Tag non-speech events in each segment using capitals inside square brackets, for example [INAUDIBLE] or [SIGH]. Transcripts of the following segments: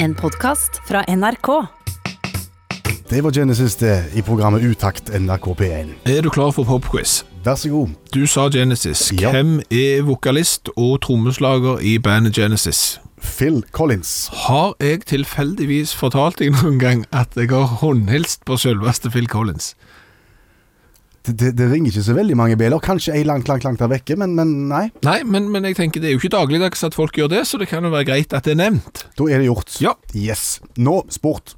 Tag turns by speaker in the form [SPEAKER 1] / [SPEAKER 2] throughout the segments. [SPEAKER 1] En podkast fra NRK.
[SPEAKER 2] Det var Genesis det, i programmet Utakt NRK P1.
[SPEAKER 3] Er du klar for popquiz?
[SPEAKER 2] Vær så god.
[SPEAKER 3] Du sa Genesis.
[SPEAKER 2] Ja.
[SPEAKER 3] Hvem er vokalist og trommeslager i bandet Genesis?
[SPEAKER 2] Phil Collins.
[SPEAKER 3] Har jeg tilfeldigvis fortalt deg noen gang at jeg har håndhilst på selveste Phil Collins?
[SPEAKER 2] Det, det, det ringer ikke så veldig mange bjeller. Kanskje ei langt, langt langt der vekke, men, men nei.
[SPEAKER 3] Nei, men, men jeg tenker det er jo ikke dagligdags at folk gjør det, så det kan jo være greit at det er nevnt.
[SPEAKER 2] Da er det gjort.
[SPEAKER 3] Ja.
[SPEAKER 2] Yes. Nå sport.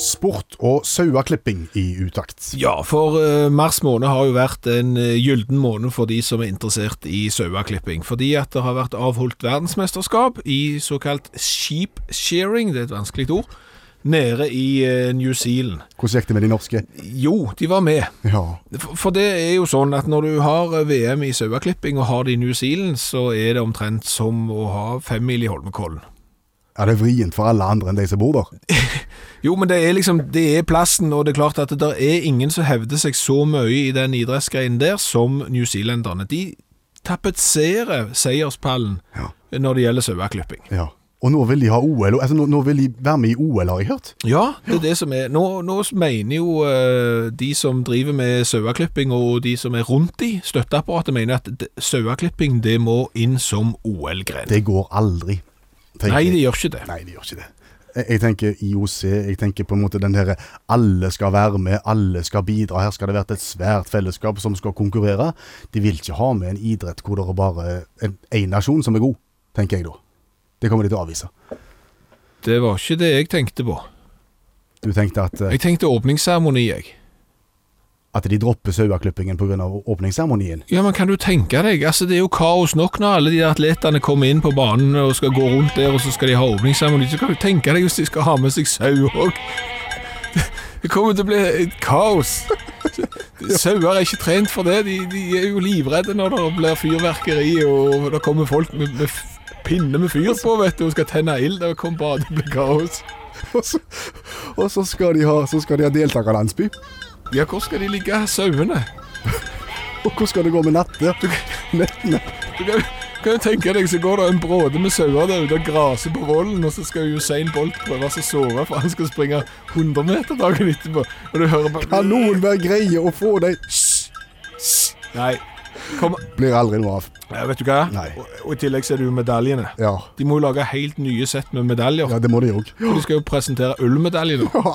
[SPEAKER 2] Sport og saueklipping i utakt.
[SPEAKER 3] Ja, for eh, mars måned har jo vært en eh, gylden måned for de som er interessert i saueklipping. Fordi at det har vært avholdt verdensmesterskap i såkalt sheep shearing, det er et vanskelig ord, nede i eh, New Zealand.
[SPEAKER 2] Hvordan gikk det med de norske?
[SPEAKER 3] Jo, de var med.
[SPEAKER 2] Ja.
[SPEAKER 3] For for det er jo sånn at når du har VM i saueklipping og har det i New Zealand, så er det omtrent som å ha femmil i Holmenkollen.
[SPEAKER 2] Er det vrient for alle andre enn de som bor der?
[SPEAKER 3] Jo, men det er liksom, det er plassen, og det er klart at det der er ingen som hevder seg så mye i den idrettsgreinen der som newzealenderne. De tapetserer seierspallen
[SPEAKER 2] Ja.
[SPEAKER 3] når det gjelder saueklipping.
[SPEAKER 2] Ja. Og nå vil de ha OL, altså nå, nå vil de være med i OL, har jeg hørt.
[SPEAKER 3] Ja, det er det som er. Nå, nå mener jo eh, de som driver med saueklipping og de som er rundt i støtteapparatet, mener at det- saueklipping det må inn som OL-gren.
[SPEAKER 2] Det går aldri. tenker
[SPEAKER 3] Nei,
[SPEAKER 2] jeg.
[SPEAKER 3] det gjør ikke det.
[SPEAKER 2] Nei, det gjør ikke det. Jeg, jeg tenker IOC, jeg tenker på en måte den derre alle skal være med, alle skal bidra, her skal det være et svært fellesskap som skal konkurrere. De vil ikke ha med en idrett hvor det er bare en- én nasjon som er god, tenker jeg da. Det kommer de til å avvise.
[SPEAKER 3] Det var ikke det jeg tenkte på.
[SPEAKER 2] Du tenkte at, eh,
[SPEAKER 3] Jeg tenkte åpningsseremoni, jeg.
[SPEAKER 2] at de dropper saueklippingen pga. åpningsseremonien?
[SPEAKER 3] Ja, men kan du tenke deg? Altså, det er jo kaos nok når alle de atletene kommer inn på banen og skal gå rundt der, og så skal de ha åpningsseremoni. Så kan du tenke deg hvis de skal ha med seg sau òg. [LAUGHS] Det kommer til å bli et kaos. [LAUGHS] Sauer er ikke trent for det. De, de er jo livredde når det blir fyrverkeri og det kommer folk med, med f- pinne med fyr på vet du, og skal tenne ild. Det kommer bare til å bli kaos.
[SPEAKER 2] [LAUGHS] Og så, og så skal de ha, så skal de ha deltakerlandsby.
[SPEAKER 3] Ja, hvor skal de ligge, sauene?
[SPEAKER 2] Og hvordan skal det gå med natte? [LAUGHS] Nettene.
[SPEAKER 3] Du kan, kan jo tenke deg, så går det en bråde med sauer der ute og graser på volden, og så skal Usain Bolt prøve å sove, for han skal springe 100 meter dagen etterpå. Og du hører bare
[SPEAKER 2] Kan noen være greie å få dem?
[SPEAKER 3] Nei. Kom.
[SPEAKER 2] Blir aldri noe av.
[SPEAKER 3] Ja, vet du hva?
[SPEAKER 2] Nei.
[SPEAKER 3] Og, og i tillegg så er det jo medaljene.
[SPEAKER 2] Ja.
[SPEAKER 3] De må jo lage helt nye sett med medaljer.
[SPEAKER 2] ja, det må de òg.
[SPEAKER 3] For de skal jo presentere ullmedaljer nå.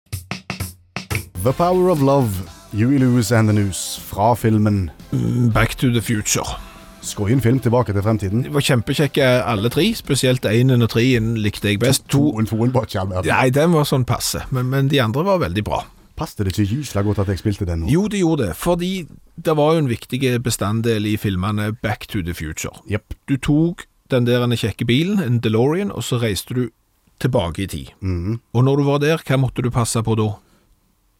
[SPEAKER 2] The Power of Love, Huey Lewis and the News, fra filmen
[SPEAKER 3] Mm, Back to the future.
[SPEAKER 2] Skoien film tilbake til fremtiden.
[SPEAKER 3] De var kjempekjekke alle tre, spesielt én og treen likte jeg best. To
[SPEAKER 2] Toen, toen, bare ikke all verden.
[SPEAKER 3] Nei, den var sånn passe, men, men de andre var veldig bra.
[SPEAKER 2] Passet det ikke gysla godt at jeg spilte den nå?
[SPEAKER 3] Jo, det gjorde det, fordi det var jo en viktig bestanddel i filmene Back to the Future.
[SPEAKER 2] Jepp.
[SPEAKER 3] Du tok den der ene kjekke bilen, en DeLorean, og så reiste du tilbake i tid.
[SPEAKER 2] Mhm.
[SPEAKER 3] Og når du var der, hva måtte du passe på da?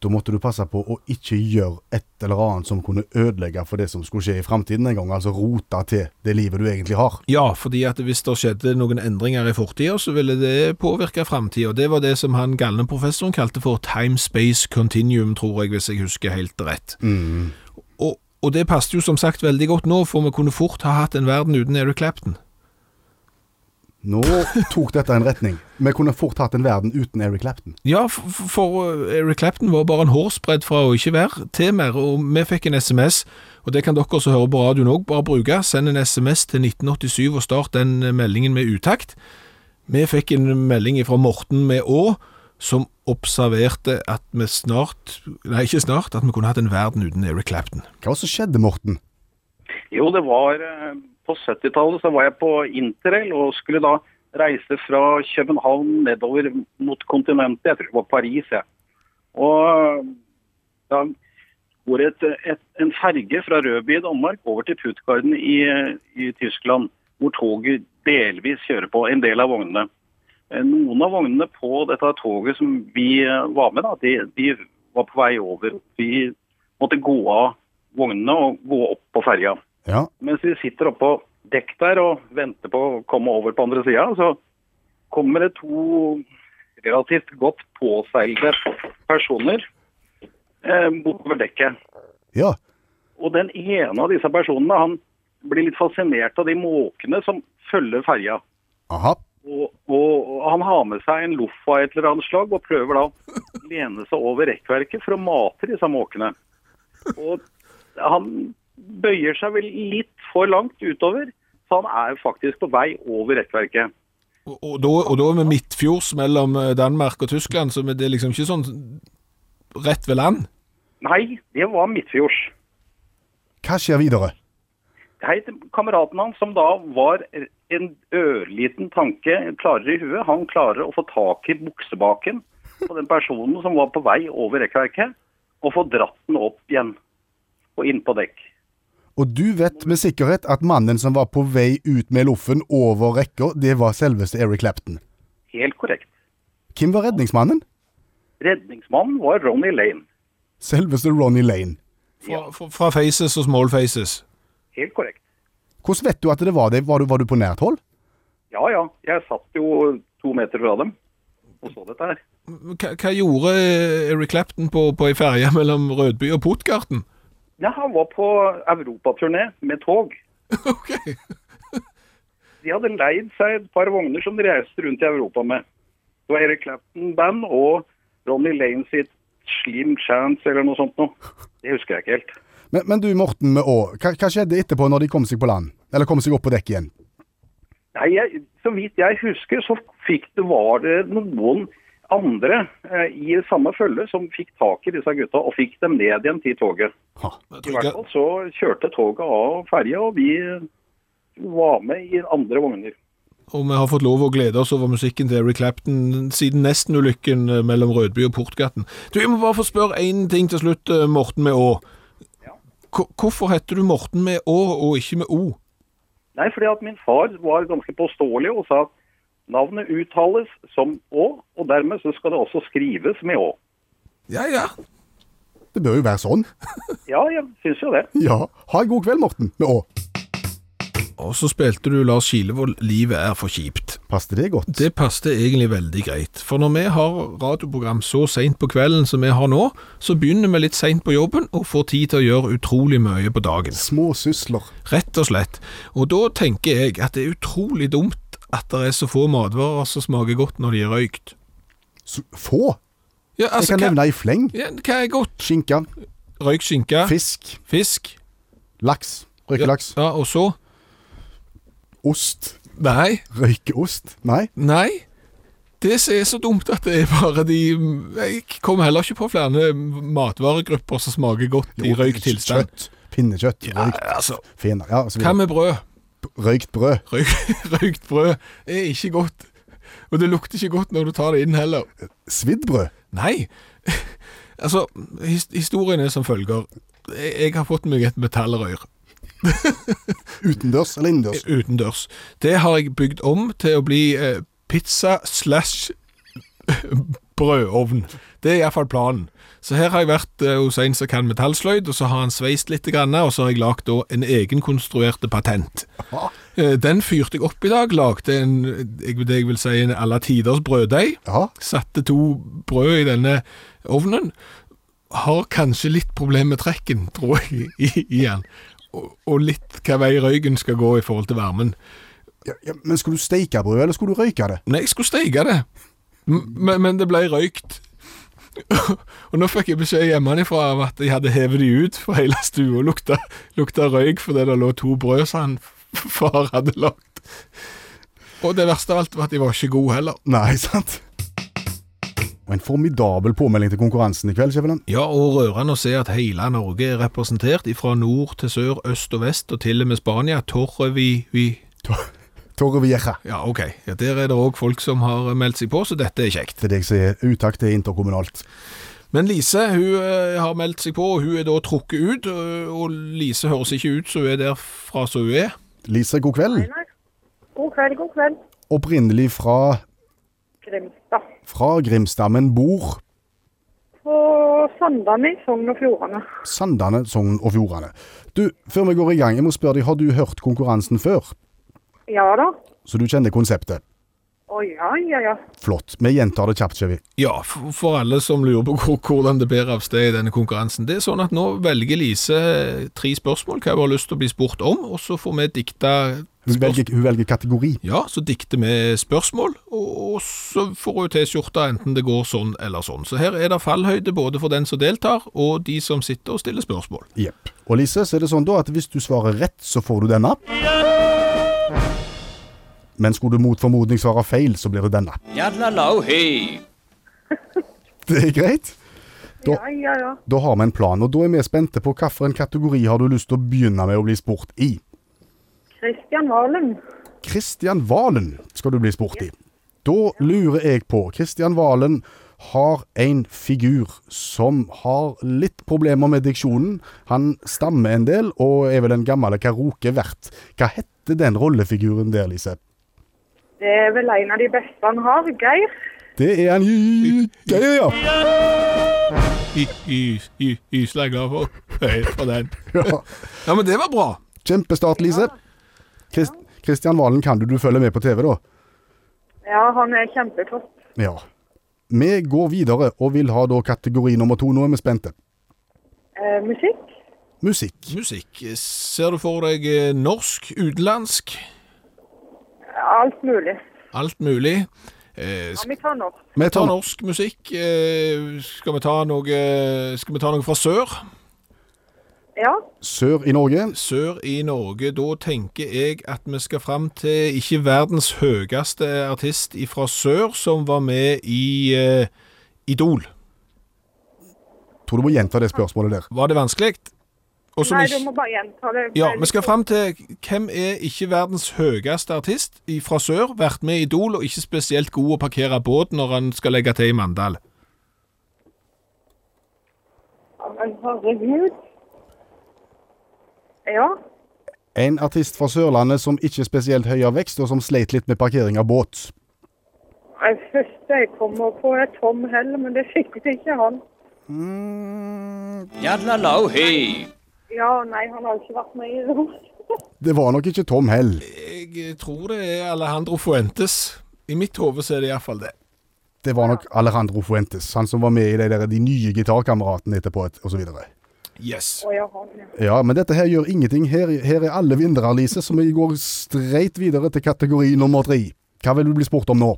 [SPEAKER 2] Da måtte du passe på å ikke gjøre et eller annet som kunne ødelegge for det som skulle skje i fremtiden en gang. Altså rote til det livet du egentlig har.
[SPEAKER 3] Ja, fordi at hvis det skjedde noen endringer i fortida, så ville det påvirke framtida. Det var det som han galne professoren kalte for time-space continuum, tror jeg, hvis jeg husker helt rett.
[SPEAKER 2] Mm.
[SPEAKER 3] Og, og det passet jo som sagt veldig godt nå, for vi kunne fort ha hatt en verden uten Eric Clapton.
[SPEAKER 2] Nå tok dette en retning. Vi kunne fort hatt en verden uten Eric Clapton.
[SPEAKER 3] Ja, for, for eh, Eric Clapton var bare en hårsbredd fra å ikke være til mer, og vi fikk en SMS, og det kan dere som hører på radioen òg bare bruke. Send en SMS til 1987 og start den eh, meldingen med utakt. Vi fikk en melding fra Morten med Å, som observerte at vi snart, nei ikke snart, at vi kunne hatt en verden uten Eric Clapton.
[SPEAKER 2] Hva var det som skjedde, Morten?
[SPEAKER 4] Jo, det var eh, på 70-tallet så var jeg på interrail og skulle da reise fra København nedover mot kontinentet. Jeg tror det var Paris, jeg. Og eh, da går det et, et, en ferge fra Rødby i Danmark over til Puttgarden i, i Tyskland, hvor toget delvis kjører på en del av vognene. Eh, Noen av vognene på dette toget som vi eh, var med, da, de, de var på vei over. Vi måtte gå av vognene og gå opp på ferja.
[SPEAKER 2] Ja,
[SPEAKER 4] Mens vi sitter oppå dekk der og venter på å komme over på andre sida, så kommer det to relativt godt påseilede personer eh, bortover dekket.
[SPEAKER 2] ja.
[SPEAKER 4] Og den ene av disse personene han blir litt fascinert av de måkene som følger ferja.
[SPEAKER 2] Aha.
[SPEAKER 4] Og, og, og han har med seg en loff av et eller annet slag og prøver da å lene seg over rekkverket for å mate disse måkene. Og han bøyer seg vel litt for langt utover, så han er faktisk på vei over rekkverket.
[SPEAKER 3] Og, og, da, og da er vi midtfjords mellom eh, Danmark og Tyskland, så vi- det er liksom ikke sånn rett ved land.
[SPEAKER 4] Nei, det var midtfjords.
[SPEAKER 2] Hva skjer videre?
[SPEAKER 4] Hei, til kameraten hans som da var en ørliten tanke klarere i huet. Han klarer å få tak i buksebaken på den personen som var på vei over rekkverket, og få dratt den opp igjen og inn på dekk.
[SPEAKER 2] Og du vet med sikkerhet at mannen som var på vei ut med loffen over rekka, det var selveste Eric Clapton.
[SPEAKER 4] Helt korrekt.
[SPEAKER 2] Hvem var redningsmannen?
[SPEAKER 4] Redningsmannen var Ronny Lane.
[SPEAKER 2] Selveste Ronny Lane.
[SPEAKER 3] Fra, fra, fra faces og small faces.
[SPEAKER 4] Helt korrekt.
[SPEAKER 2] Hvordan vet du at det var det? Var du, var du på nært hold?
[SPEAKER 4] Ja, ja. Jeg satt jo to meter fra dem og så dette her.
[SPEAKER 3] Men Hva, hva gjorde eh, Eric Clapton på, på ei ferje mellom Rødby og Puttgarten?
[SPEAKER 4] Ja, han var på europaturné med tog.
[SPEAKER 3] [LAUGHS] Ok.
[SPEAKER 4] De hadde leid seg et par vogner som de reiste rundt i Europa med. Det var Eric Clapton-band og Ronny Lane sitt Slim Chance eller noe sånt noe. Det husker jeg ikke helt.
[SPEAKER 2] Men, men du, Morten med Å, hva, hva skjedde etterpå når de kom seg på land? Eller kom seg opp på dekk igjen?
[SPEAKER 4] Nei, jeg, Så vidt jeg husker, så fikk det var det noen andre eh, i samme følge som fikk tak i disse gutta og fikk dem ned igjen til toget.
[SPEAKER 2] Ha.
[SPEAKER 4] I hvert fall så kjørte toget av ferja, og vi var med i andre vogner.
[SPEAKER 3] Og vi har fått lov å glede oss over musikken til Eric Clapton siden nesten-ulykken eh, mellom Rødby og Portgaten. Du, Jeg må bare få spørre én ting til slutt, eh, Morten med Å. Hvor- Hvorfor heter du Morten med Å og ikke med O?
[SPEAKER 4] Nei, fordi at min far var ganske påståelig og sa at navnet uttales som Å, og dermed så skal det også skrives med Å.
[SPEAKER 3] Ja, ja.
[SPEAKER 2] Det bør jo være sånn. [LAUGHS]
[SPEAKER 4] Ja, jeg syns jo det.
[SPEAKER 2] Ja. Ha en god kveld, Morten med Å.
[SPEAKER 3] Og så spilte du Lars Kilevold 'Livet er for kjipt'.
[SPEAKER 2] Passte det godt?
[SPEAKER 3] Det passet egentlig veldig greit. For når vi har radioprogram så seint på kvelden som vi har nå, så begynner vi litt seint på jobben og får tid til å gjøre utrolig mye på dagen.
[SPEAKER 2] Små sysler.
[SPEAKER 3] Rett og slett. Og da tenker jeg at det er utrolig dumt at det er så få matvarer som smaker godt når de er røykt.
[SPEAKER 2] S få?
[SPEAKER 3] Ja,
[SPEAKER 2] Jeg
[SPEAKER 3] altså,
[SPEAKER 2] kan
[SPEAKER 3] hva,
[SPEAKER 2] nevne i fleng.
[SPEAKER 3] ja, hva er godt?
[SPEAKER 2] Skinke,
[SPEAKER 3] Røykt skinke,
[SPEAKER 2] fisk,
[SPEAKER 3] fisk
[SPEAKER 2] laks, røykelaks,
[SPEAKER 3] Ja, ja, og så?
[SPEAKER 2] ost,
[SPEAKER 3] Nei.
[SPEAKER 2] røykeost. Nei.
[SPEAKER 3] Nei. Det som er så dumt at det er bare de Jeg kommer heller ikke på flere matvaregrupper som smaker godt i røykt tilstand.
[SPEAKER 2] Kjøtt. Pinnekjøtt.
[SPEAKER 3] Ja,
[SPEAKER 2] Røykt
[SPEAKER 3] altså,
[SPEAKER 2] fener. Ja, og så
[SPEAKER 3] hva
[SPEAKER 2] videre.
[SPEAKER 3] med brød?
[SPEAKER 2] Røykt brød.
[SPEAKER 3] [LAUGHS] Røyk, røykt brød er ikke godt. Og det lukter ikke godt når du tar det inn heller.
[SPEAKER 2] Svidd brød.
[SPEAKER 3] Nei. [LAUGHS] Altså, his historien er som følger. Jeg, jeg har fått meg et metallrør
[SPEAKER 2] Utendørs eller innendørs?
[SPEAKER 3] utendørs. Det har jeg bygd om til å bli eh, pizza slash [LAUGHS] brødovn. Det er iallfall planen. Så her har jeg vært eh, hos en som kan metallsløyd, og så har han sveist litt, grann, og så har jeg lagd da en egenkonstruerte patent.
[SPEAKER 2] Ah,
[SPEAKER 3] Eh, Den fyrte jeg opp i dag, lagde en, jeg- det jeg vil si en alle tiders brøddeig.
[SPEAKER 2] Ja.
[SPEAKER 3] Satte to brød i denne ovnen. Har kanskje litt problem med trekken, tror jeg, [LAUGHS] i, i den. Og, og litt hva vei røyken skal gå i forhold til varmen.
[SPEAKER 2] Ja, ja, men skulle du steike brød, eller skulle du røyke det?
[SPEAKER 3] Nei, jeg skulle steike det, M- men, men det ble røykt. [LAUGHS] og nå fikk jeg beskjed hjemmefra av at jeg hadde hevet de ut fra hele stua og lukta, lukta røyk fordi det lå to brød som han [LAUGHS] f- far hadde lagd. Og det verste av alt var at de var ikke gode heller.
[SPEAKER 2] Nei, [LAUGHS] sant? Og en formidabel påmelding til konkurransen i kveld, Skjæveland.
[SPEAKER 3] Ja, og rørende å se at hele Norge er representert, fra nord til sør, øst og vest, og til og med Spania. Torrevi... Vi.
[SPEAKER 2] Torre Vieja.
[SPEAKER 3] Ja, ok. Ja, der er det òg folk som har meldt seg på, så dette er kjekt.
[SPEAKER 2] Til deg som er utakt til interkommunalt.
[SPEAKER 3] Men Lise hun eh, har meldt seg på, og hun er da trukket ut. eh, Og Lise høres ikke ut, så hun er derfra som hun er.
[SPEAKER 2] Lise, god kveld.
[SPEAKER 5] God kveld, god kveld.
[SPEAKER 2] Opprinnelig fra,
[SPEAKER 5] Grimstad.
[SPEAKER 2] fra Grimstad, men bor
[SPEAKER 5] På Sandane i Sogn og Fjordane.
[SPEAKER 2] Sandane, Sogn og Fjordane. Du, før vi går i gang, jeg må spørre deg, har du hørt konkurransen før?
[SPEAKER 5] Ja da.
[SPEAKER 2] Så du kjenner konseptet?
[SPEAKER 5] Å ja, ja, ja.
[SPEAKER 2] Flott. Vi gjentar det kjapt, Kjevik.
[SPEAKER 3] Ja, for, for alle som lurer på hvor, hvordan det bærer av sted i denne konkurransen. Det er sånn at nå velger Lise tre spørsmål hva hun har lyst til å bli spurt om, og så får vi dikte
[SPEAKER 2] Hun velger, hun velger kategori.
[SPEAKER 3] Ja, så dikter vi spørsmål, og, og så får hun T-skjorta enten det går sånn eller sånn. Så her er det fallhøyde både for den som deltar, og de som sitter og stiller spørsmål.
[SPEAKER 2] Jepp. Og Lise, så er det sånn da at hvis du svarer rett, så får du denne. Men skulle du mot formodning svare feil, så blir det denne. [LAUGHS]
[SPEAKER 6] Yadlalau hei.
[SPEAKER 2] Det er greit. Da,
[SPEAKER 5] Ja, ja, ja.
[SPEAKER 2] da har vi en plan, og da er vi spente på hvilken kategori har du lyst til å begynne med å bli spurt i.
[SPEAKER 5] Kristian Valen.
[SPEAKER 2] Kristian Valen skal du bli spurt i. Da lurer jeg på Kristian Valen har en figur som har litt problemer med diksjonen. Han stammer en del, og er vel en gammel karaokevert. Hva heter den rollefiguren der, Lise?
[SPEAKER 5] Det er vel en av de beste han har. Geir.
[SPEAKER 2] Det er han i- Ja, ja, ja.
[SPEAKER 3] Y- y- y- Ysla er glad for. Høy for den.
[SPEAKER 2] ja.
[SPEAKER 3] [LAUGHS] Ja, men det var bra.
[SPEAKER 2] Kjempestart, Lise. Krist Kristian Valen kan du, du følger med på TV, da.
[SPEAKER 5] Ja, han er kjempeflott.
[SPEAKER 2] Ja. Vi går videre, og vil ha da kategori nummer to. Nå er vi spente.
[SPEAKER 5] Eh, musikk?
[SPEAKER 2] Musikk.
[SPEAKER 3] Musikk. Ser du for deg eh, norsk, utenlandsk,
[SPEAKER 5] Alt mulig.
[SPEAKER 3] alt mulig? Eh,
[SPEAKER 5] Ja, vi tar norsk.
[SPEAKER 2] Vi
[SPEAKER 3] ta
[SPEAKER 2] tar nå.
[SPEAKER 3] norsk musikk. Eh, skal vi ta noe Skal vi ta noe fra sør?
[SPEAKER 5] Ja.
[SPEAKER 2] Sør i Norge.
[SPEAKER 3] Sør i Norge. Da tenker jeg at vi skal fram til ikke verdens høyeste artist fra sør, som var med i eh, Idol.
[SPEAKER 2] Tror du må gjenta det spørsmålet der.
[SPEAKER 3] Var det vanskelig? Og som
[SPEAKER 5] Nei, du
[SPEAKER 3] ikke-
[SPEAKER 5] må bare gjenta det.
[SPEAKER 3] Ja, vi skal fram til hvem er ikke verdens høyeste artist fra sør, vært med i Idol og ikke spesielt god å parkere båt når han skal legge til i Mandal.
[SPEAKER 5] Ja, Men herregud. Ja.
[SPEAKER 2] En artist fra Sørlandet som ikke er spesielt høy av vekst, og som sleit litt med parkering av båt.
[SPEAKER 5] Det første jeg kommer på er Tom Hell, men det fikk vi ikke han.
[SPEAKER 6] Yadlalau hei.
[SPEAKER 5] Ja, nei, han har ikke vært med i det.
[SPEAKER 2] Det var nok ikke Tom Hell.
[SPEAKER 3] Jeg eh, tror det er Alejandro Fuentes. I mitt hode så er det iallfall det.
[SPEAKER 2] Det var nok Alejandro Fuentes, han som var med i de, der, de nye gitarkameratene etterpå, et- og så videre.
[SPEAKER 3] Yes.
[SPEAKER 5] Å ja, han, ja.
[SPEAKER 2] Ja, men dette her gjør ingenting. Her, her er alle vinnere, Lise, så vi går streit videre til kategori nummer tre. Hva vil du bli spurt om nå?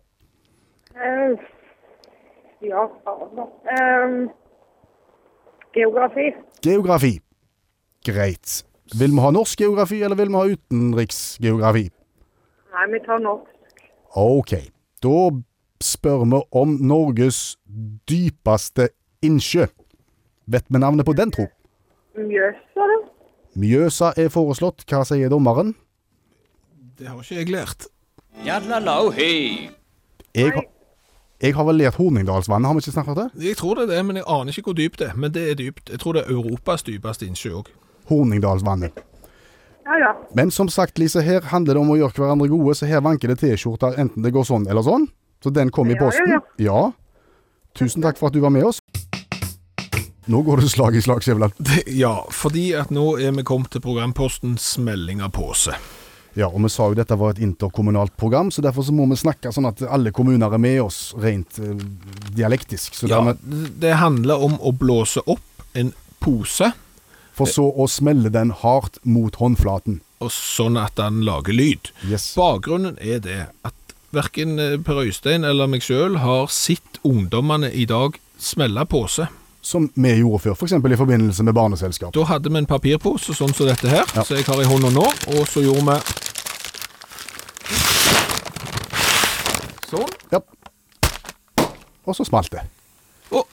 [SPEAKER 5] Eh, ja, faen da.
[SPEAKER 7] Ehm,
[SPEAKER 5] Eh, geografi.
[SPEAKER 2] Geografi. Greit. Vil vi ha norsk geografi, eller vil vi ha utenriksgeografi?
[SPEAKER 5] Nei,
[SPEAKER 7] Ah,
[SPEAKER 5] vi tar norsk.
[SPEAKER 2] Ok, da spør vi om Norges dypeste innsjø. Vet vi navnet på den, tro?
[SPEAKER 5] Mjøsa, det.
[SPEAKER 2] Mjøsa er foreslått. Hva sier dommeren?
[SPEAKER 3] Det har ikke jeg lært.
[SPEAKER 6] Yadlalau hei.
[SPEAKER 2] Jeg, har- jeg har vel lært Hornindalsvannet, har vi ikke snakket om det?
[SPEAKER 3] Jeg tror det er det, men jeg aner ikke hvor dypt det er. Men det er dypt. Jeg tror det er Europas dypeste innsjø òg.
[SPEAKER 2] Hornindalsvannet.
[SPEAKER 7] Nou
[SPEAKER 5] Ja, ja.
[SPEAKER 2] Men som sagt, Lise, her handler det om å gjøre hverandre gode, så her vanker det T-skjorter enten det går sånn eller sånn. Så den kom
[SPEAKER 5] Ja,
[SPEAKER 2] i
[SPEAKER 5] ja,
[SPEAKER 2] posten.
[SPEAKER 5] ja.
[SPEAKER 2] Ja. Tusen takk for at du var med oss. Nå går det slag i slag, Skjæveland.
[SPEAKER 3] Ja, fordi at nå er vi kommet til programposten Smelling av pose.
[SPEAKER 2] Ja, og vi sa jo dette var et interkommunalt program, så derfor så må vi snakke sånn at alle kommuner er med oss rent eh, dialektisk. Så
[SPEAKER 3] Ja,
[SPEAKER 2] dermed,
[SPEAKER 3] det handler om å blåse opp en pose,
[SPEAKER 2] for så å smelle den hardt mot håndflaten.
[SPEAKER 3] og sånn at den lager lyd.
[SPEAKER 2] Yes.
[SPEAKER 3] Bakgrunnen er det at verken eh, Per Øystein eller meg sjøl har sett ungdommene i dag smelle pose.
[SPEAKER 2] Som vi gjorde før, f.eks. i forbindelse med barneselskap.
[SPEAKER 3] Da hadde vi en papirpose sånn som dette her,
[SPEAKER 2] Ja.
[SPEAKER 3] som jeg har i hånda nå, og så gjorde vi Sånn.
[SPEAKER 2] Ja. Og så smalt det.
[SPEAKER 3] Og,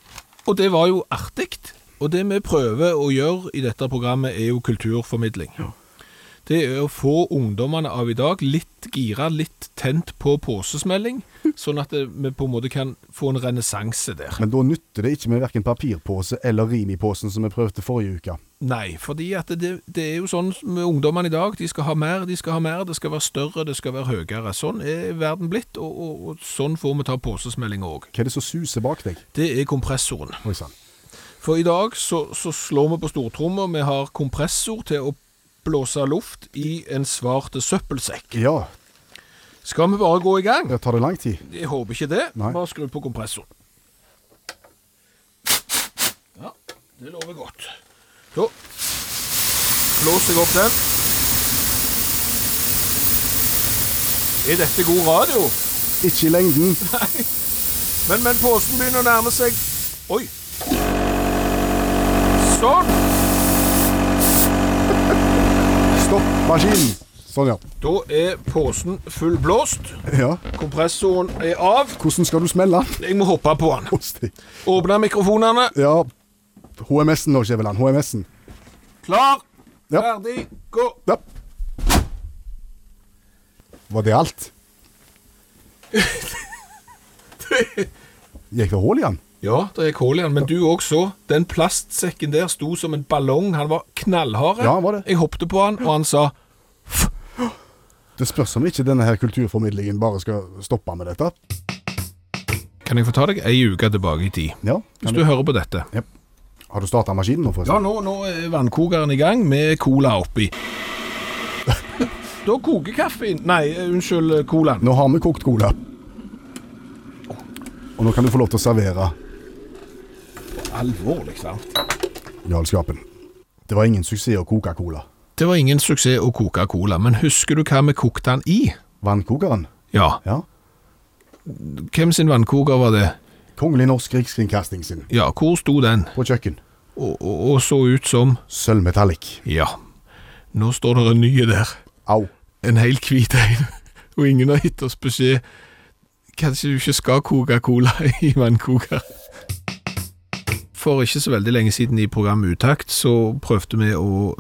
[SPEAKER 3] og det var jo artig. Og det vi prøver å gjøre i dette programmet, er jo kulturformidling. Det er å få ungdommene av i dag litt gira, litt tent på posesmelling, sånn at det- vi på en måte kan få en renessanse der.
[SPEAKER 2] Men da nytter det ikke med verken papirpose eller Rimi-posen som vi prøvde forrige uke.
[SPEAKER 3] Nei, fordi at det, det er jo sånn med ungdommene i dag. De skal ha mer, de skal ha mer. Det skal være større, det skal være høyere. Sånn er verden blitt, og, og, og sånn får vi ta posesmelling òg.
[SPEAKER 2] Hva er det som suser bak deg?
[SPEAKER 3] Det er kompressoren.
[SPEAKER 2] Oi sann.
[SPEAKER 3] For i dag så, så slår vi på stortromma. Vi har kompressor til å blåse luft i en svart søppelsekk.
[SPEAKER 2] Ja.
[SPEAKER 3] Skal vi bare gå i gang?
[SPEAKER 2] Det tar det lang tid.
[SPEAKER 3] Jeg håper ikke det.
[SPEAKER 2] Nei.
[SPEAKER 3] Bare skru på kompressoren. Ja, det lover godt. Da blåser jeg opp den. Er dette god radio?
[SPEAKER 2] Ikke i lengden.
[SPEAKER 3] Men, men posen begynner å nærme seg. Oi. Sånn.
[SPEAKER 2] Stopp maskinen! Sånn, ja.
[SPEAKER 3] Da er posen fullblåst.
[SPEAKER 2] ja.
[SPEAKER 3] Kompressoren er av.
[SPEAKER 2] Hvordan skal du smelle?
[SPEAKER 3] Jeg må hoppe på den.
[SPEAKER 2] Osti.
[SPEAKER 3] Åpne mikrofonene.
[SPEAKER 2] Ja. HMS-en nå, Skjæveland. HMS-en.
[SPEAKER 3] Klar,
[SPEAKER 2] Ja.
[SPEAKER 3] ferdig, gå.
[SPEAKER 2] Ja. Var det
[SPEAKER 3] [LAUGHS]
[SPEAKER 2] alt? Gikk det hull i den?
[SPEAKER 3] Ja, det er kål igjen, men du òg så. Den plastsekken der sto som en ballong. Han var knallhard.
[SPEAKER 2] Ja, han var det.
[SPEAKER 3] Jeg hoppet på han, og han sa
[SPEAKER 2] Det spørs om ikke denne her kulturformidlingen bare skal stoppe med dette.
[SPEAKER 3] Kan jeg få ta deg ei uke tilbake i tid?
[SPEAKER 2] Ja,
[SPEAKER 3] Hvis
[SPEAKER 2] kan
[SPEAKER 3] du
[SPEAKER 2] du...
[SPEAKER 3] hører på dette.
[SPEAKER 2] Ja. Har du starta maskinen nå,
[SPEAKER 3] Ja,
[SPEAKER 2] forresten?
[SPEAKER 3] nå, nå er vannkokeren i gang med cola
[SPEAKER 2] [LAUGHS]
[SPEAKER 3] oppi. da koker kaffen Nei, unnskyld, colaen.
[SPEAKER 2] Nå har vi kokt cola. Og nå kan du få lov til å servere
[SPEAKER 3] Alvorlig, sant?
[SPEAKER 2] galskapen. Det var ingen suksess å koke cola.
[SPEAKER 3] Det var ingen suksess å koke cola, men husker du hva vi kokte den i?
[SPEAKER 2] Vannkokeren?
[SPEAKER 3] Ja,
[SPEAKER 2] Ja.
[SPEAKER 3] hvem sin vannkoker var det?
[SPEAKER 2] Kongelig norsk rikskringkasting sin.
[SPEAKER 3] Ja, hvor sto den?
[SPEAKER 2] På kjøkken.
[SPEAKER 3] Og, og, og så ut som
[SPEAKER 2] Sølvmetallic.
[SPEAKER 3] Ja, nå står det en ny der.
[SPEAKER 2] Au.
[SPEAKER 3] En helt hvit en. [LAUGHS] Og ingen har gitt oss beskjed. Kanskje du ikke skal koke cola [LAUGHS] i vannkoker? For ikke så veldig lenge siden i programmet Utakt så prøvde vi å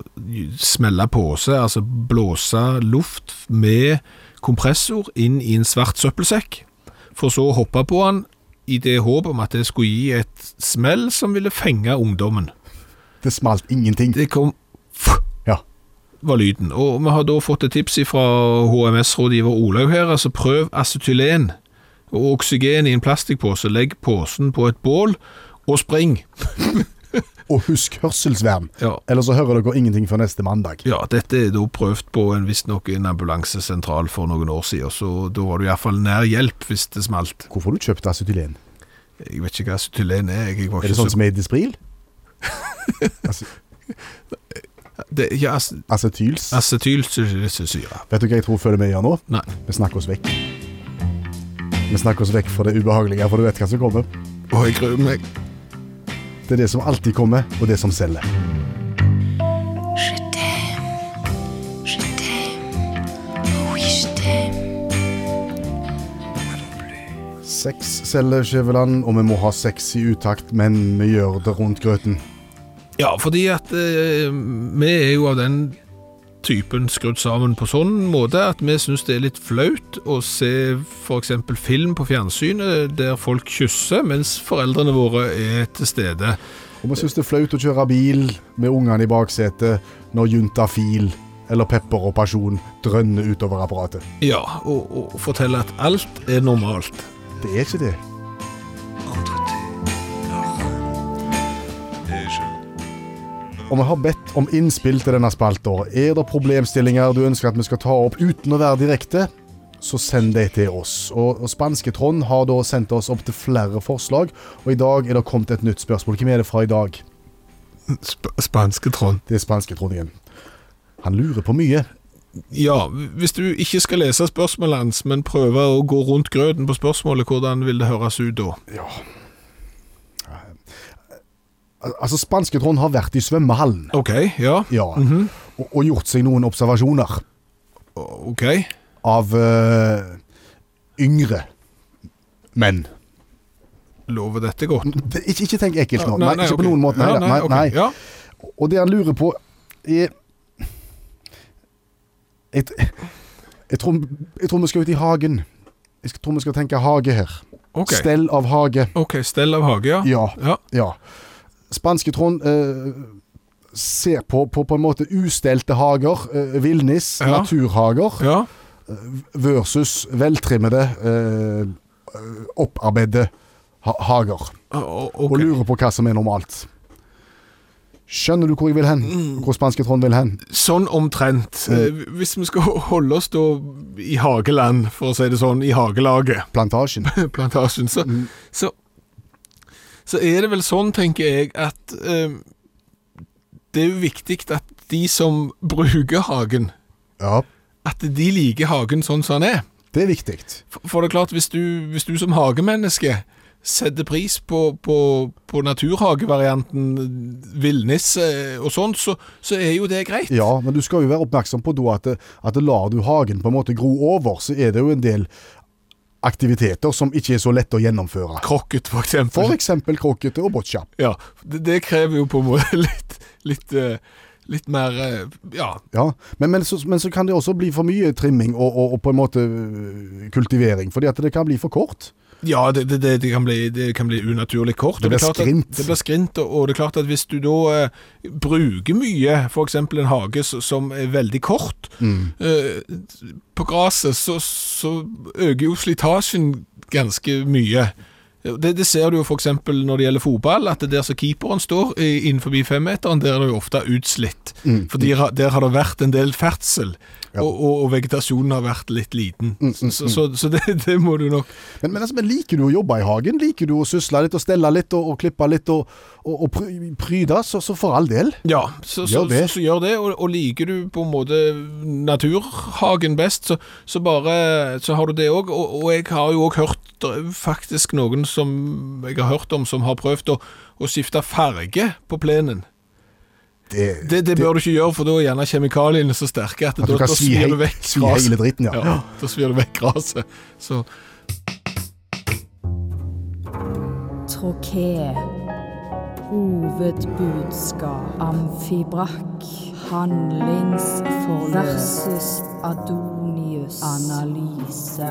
[SPEAKER 3] smelle påse, altså blåse luft med kompressor inn i en svart søppelsekk, for så å hoppe på den i det håp om at det skulle gi et smell som ville fenge ungdommen.
[SPEAKER 2] Det smalt ingenting.
[SPEAKER 3] Det kom
[SPEAKER 2] Ja.
[SPEAKER 3] var lyden. Og vi har da fått et tips fra HMS-rådgiver Olaug her. Altså prøv acetylen og oksygen i en plastikkpose. Legg posen på et bål og spring.
[SPEAKER 2] Og husk hørselsvern.
[SPEAKER 3] Ja.
[SPEAKER 2] Ellers så hører dere ingenting før neste mandag.
[SPEAKER 3] Ja, dette er da prøvd på en visstnok en ambulansesentral for noen år siden, så da var du iallfall nær hjelp hvis det smalt.
[SPEAKER 2] Hvorfor har du kjøpt acetylen?
[SPEAKER 3] Jeg vet ikke hva acetylen er. Jeg var
[SPEAKER 2] Er det
[SPEAKER 3] ikke
[SPEAKER 2] sånn
[SPEAKER 3] så...
[SPEAKER 2] som er i
[SPEAKER 3] [LAUGHS]
[SPEAKER 2] Dispril? Ace-
[SPEAKER 3] Det, ja, ac-
[SPEAKER 2] Acetyls?
[SPEAKER 3] acetylsyre.
[SPEAKER 2] Vet du hva jeg tror føler vi gjør nå?
[SPEAKER 3] Nei.
[SPEAKER 2] Vi snakker oss vekk. Vi snakker oss vekk fra det ubehagelige, for du vet hva som kommer.
[SPEAKER 3] Å, jeg gruer meg.
[SPEAKER 2] Det er det som alltid kommer, og det som selger.
[SPEAKER 8] Je t'aime, je t'aime, oui je t'aime.
[SPEAKER 2] Sex selger Skjæveland, og vi må ha sex i utakt, men vi gjør det rundt grøten.
[SPEAKER 3] Ja, fordi at eh, vi er jo av den typen skrudd sammen på sånn måte at vi syns det er litt flaut å se f.eks. film på fjernsynet der folk kysser mens foreldrene våre er til stede.
[SPEAKER 2] Og vi syns det er flaut å kjøre bil med ungene i baksetet når juntafil eller pepper og pasjon drønner utover apparatet.
[SPEAKER 3] Ja, og, og fortelle at alt er normalt.
[SPEAKER 2] Det er ikke det. Og vi har bedt om innspill til denne spalta. Er det problemstillinger du ønsker at vi skal ta opp uten å være direkte, så send de til oss. Og, og Spanske Trond har da sendt oss opp til flere forslag, og i dag er det kommet et nytt spørsmål. Hvem er det fra i dag?
[SPEAKER 3] Sp spanske Trond.
[SPEAKER 2] Det er Spanske Trond igjen. Han lurer på mye.
[SPEAKER 3] Ja, hvis du ikke skal lese spørsmålet hans, men prøve å gå rundt grøten på spørsmålet, hvordan vil det høres ut da?
[SPEAKER 2] Ja. Al- Altså, Spanske Trond har vært i svømmehallen.
[SPEAKER 3] OK, ja.
[SPEAKER 2] Ja. og, og gjort seg noen observasjoner
[SPEAKER 3] OK.
[SPEAKER 2] av eh, yngre menn.
[SPEAKER 3] Lover dette godt?
[SPEAKER 2] Det, ikke, ikke tenk ekkelt nå. Nei, ikke
[SPEAKER 3] ok.
[SPEAKER 2] på noen måte. Nei,
[SPEAKER 3] Ja,
[SPEAKER 2] da. nei,
[SPEAKER 3] ok,
[SPEAKER 2] nei.
[SPEAKER 3] Ja.
[SPEAKER 2] Og det han lurer på er jeg, t- jeg, tror, jeg tror vi skal ut i hagen. Jeg sk- tror vi skal tenke hage her.
[SPEAKER 3] Ok,
[SPEAKER 2] Stell av hage.
[SPEAKER 3] Ok, stell av hage, ja.
[SPEAKER 2] Ja.
[SPEAKER 3] Ja,
[SPEAKER 2] ja. Spanske Trond eh, ser på, på på en måte ustelte hager, eh, villnis,
[SPEAKER 3] Ja.
[SPEAKER 2] naturhager,
[SPEAKER 3] ja.
[SPEAKER 2] versus veltrimmede, eh, opparbeidede ha hager.
[SPEAKER 3] Ah, O- o- ok.
[SPEAKER 2] Og lurer på hva som er normalt. Skjønner du hvor jeg vil hen? Hvor spanske Trond vil hen?
[SPEAKER 3] Sånn omtrent. Eh, Hvis vi skal [LAUGHS] holde oss da i Hageland, for å si det sånn, i Hagelaget, [LAUGHS]
[SPEAKER 2] Plantasjen.
[SPEAKER 3] plantasjen, så,
[SPEAKER 2] Mm.
[SPEAKER 3] så, så er det vel sånn, tenker jeg, at eh, det er jo viktig at de som bruker hagen,
[SPEAKER 2] Ja,
[SPEAKER 3] at de liker hagen sånn som den er.
[SPEAKER 2] det er viktig.
[SPEAKER 3] For, for det er klart, hvis du, hvis du som hagemenneske setter pris på, på, på naturhagevarianten villnisse og sånt, så, så er jo det greit.
[SPEAKER 2] Ja, men du skal jo være oppmerksom på da at, at lar du hagen på en måte gro over, så er det jo en del aktiviteter som ikke er så lette å gjennomføre.
[SPEAKER 3] Krokket, for eksempel.
[SPEAKER 2] For eksempel krokete og boccia.
[SPEAKER 3] Ja, det, det krever jo på en måte [LAUGHS] litt, litt, eh, litt mer eh, Ja,
[SPEAKER 2] Ja, men, men, så, men så kan det også bli for mye trimming og, og, og på en måte øh, kultivering, fordi at det kan bli for kort.
[SPEAKER 3] ja det, det, det, det, kan bli, det kan bli unaturlig kort. og
[SPEAKER 2] Det blir
[SPEAKER 3] er klart at-
[SPEAKER 2] skrint.
[SPEAKER 3] Det blir skrint, og, og det er klart at hvis du da eh, bruker mye, f.eks. en hage s- som er veldig kort,
[SPEAKER 2] Mm.
[SPEAKER 3] eh, på gresset, så, så øker jo slitasjen ganske mye. Det, det ser du jo f.eks. når det gjelder fotball, at det der som keeperen står i- innenfor femmeteren, der er det jo ofte utslitt.
[SPEAKER 2] Mm.
[SPEAKER 3] Fordi ra- der har det vært en del ferdsel, og, og, og vegetasjonen har vært litt liten.
[SPEAKER 2] Mm,
[SPEAKER 3] Så, så, så det, det må du nok
[SPEAKER 2] Men, men, altså, men liker du å jobbe i hagen? Liker du å sysle litt og stelle litt og, og klippe litt og, og, og pry- pryde? Så, så for all del.
[SPEAKER 3] Ja, så, så,
[SPEAKER 2] Gjør det.
[SPEAKER 3] så, så gjør det, og, og liker du på en måte naturhagen best, så, så bare så har du det òg. Og, og jeg har jo òg hørt det er faktisk noen som jeg har hørt om, som har prøvd å, å skifte farge på plenen.
[SPEAKER 2] Det,
[SPEAKER 3] Det, det bør du ikke gjøre, for da er gjerne kjemikaliene så sterke at,
[SPEAKER 2] At du
[SPEAKER 3] da,
[SPEAKER 2] kan
[SPEAKER 3] da
[SPEAKER 2] svi
[SPEAKER 3] svir
[SPEAKER 2] hei-
[SPEAKER 3] du vekk
[SPEAKER 2] svi hele dritten, ja.
[SPEAKER 3] ja. Da svir du vekk gresset. Så
[SPEAKER 9] Trokee. Hovedbudskap. Amfibrakk. Handlingsforløp. Versus Adonius. Analyse.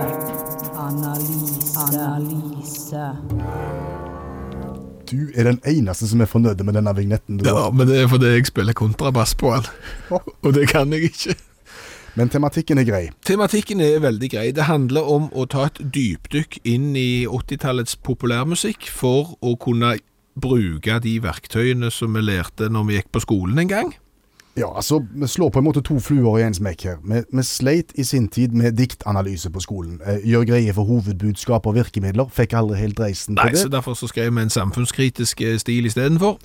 [SPEAKER 9] Analyse. Analyse.
[SPEAKER 2] Du er den eneste som er fornøyd med denne vignetten. Du.
[SPEAKER 3] Ja, men det er fordi jeg spiller kontrabass på
[SPEAKER 2] [LAUGHS]
[SPEAKER 3] den, og det kan jeg ikke.
[SPEAKER 2] Men tematikken er grei.
[SPEAKER 3] Tematikken er veldig grei. Det handler om å ta et dypdykk inn i 80-tallets populærmusikk for å kunne bruke de verktøyene som vi lærte når vi gikk på skolen en gang.
[SPEAKER 2] Ja, altså, vi slår på en måte to fluer i en smekk her. Vi, vi sleit i sin tid med diktanalyse på skolen. Eh, gjør greie for hovedbudskap og virkemidler. Fikk aldri helt reisen
[SPEAKER 3] Nei,
[SPEAKER 2] på
[SPEAKER 3] så
[SPEAKER 2] det.
[SPEAKER 3] Derfor så skrev vi en samfunnskritisk eh, stil istedenfor.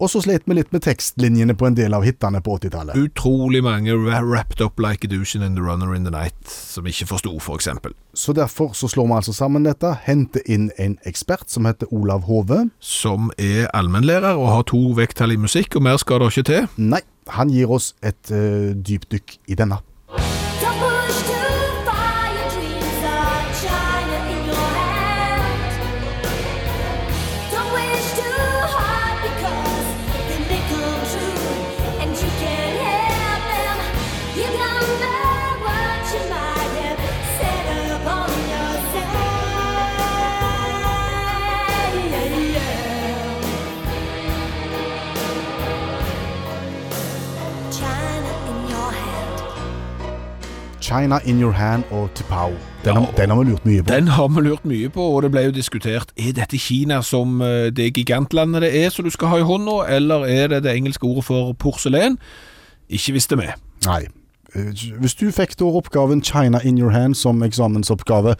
[SPEAKER 2] Og så sleit vi litt med tekstlinjene på en del av hitene på 80-tallet.
[SPEAKER 3] Utrolig mange ra- wrapped up like a douche and the runner in the night som ikke forsto, for eksempel.
[SPEAKER 2] Så derfor så slår vi altså sammen dette. Henter inn en ekspert som heter Olav Hove.
[SPEAKER 3] Som er allmennlærer og har to vekttall i musikk, og mer skal det ikke til.
[SPEAKER 2] Nei, han gir oss et eh, dypdykk i denne.
[SPEAKER 8] Don't push too far. Your dreams are China in your hand. Don't wish too hard because they may come true, and you can't help them. You number what you might have set up on yourself. China in your hand.
[SPEAKER 2] China in your hand og Tipao. Den,
[SPEAKER 3] Ja,
[SPEAKER 2] har- den har vi lurt mye på.
[SPEAKER 3] Den har vi lurt mye på, og det ble jo diskutert Er dette Kina som eh, det gigantlandet det er som du skal ha i hånda, eller er det det engelske ordet for porselen? Ikke visste vi.
[SPEAKER 2] Nei. Eh, Hvis du fikk da oppgaven China in your hand som eksamensoppgave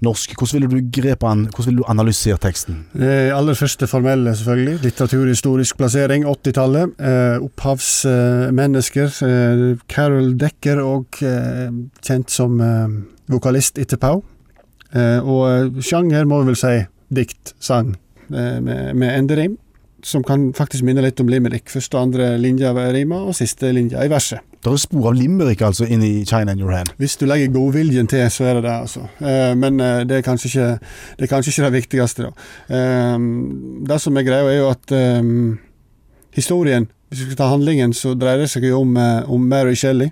[SPEAKER 2] norsk, hvordan ville du grepet an, hvordan ville du analysert teksten?
[SPEAKER 7] Det aller første formelle, selvfølgelig. Litteraturhistorisk plassering, 80-tallet. Eh, Opphavsmennesker. Eh, Carol Decker, og eh, kjent som eh, vokalist etter Pau. Eh, og eh, sjanger må vi vel si dikt, sang, eh, med, med enderim. Som kan faktisk minne litt om limerick. Første og andre linja ved rima, og siste linja i verset.
[SPEAKER 2] Det er spor av limerick altså inni China in your hand.
[SPEAKER 7] Hvis du legger godviljen til, så er det det, altså. Eh, Men eh, det er kanskje ikke det, er kanskje ikke det viktigste, da. Eh, Det som er greia, er jo at eh, historien Hvis vi skal ta handlingen, så dreier det seg jo om, eh, om Mary Shelley.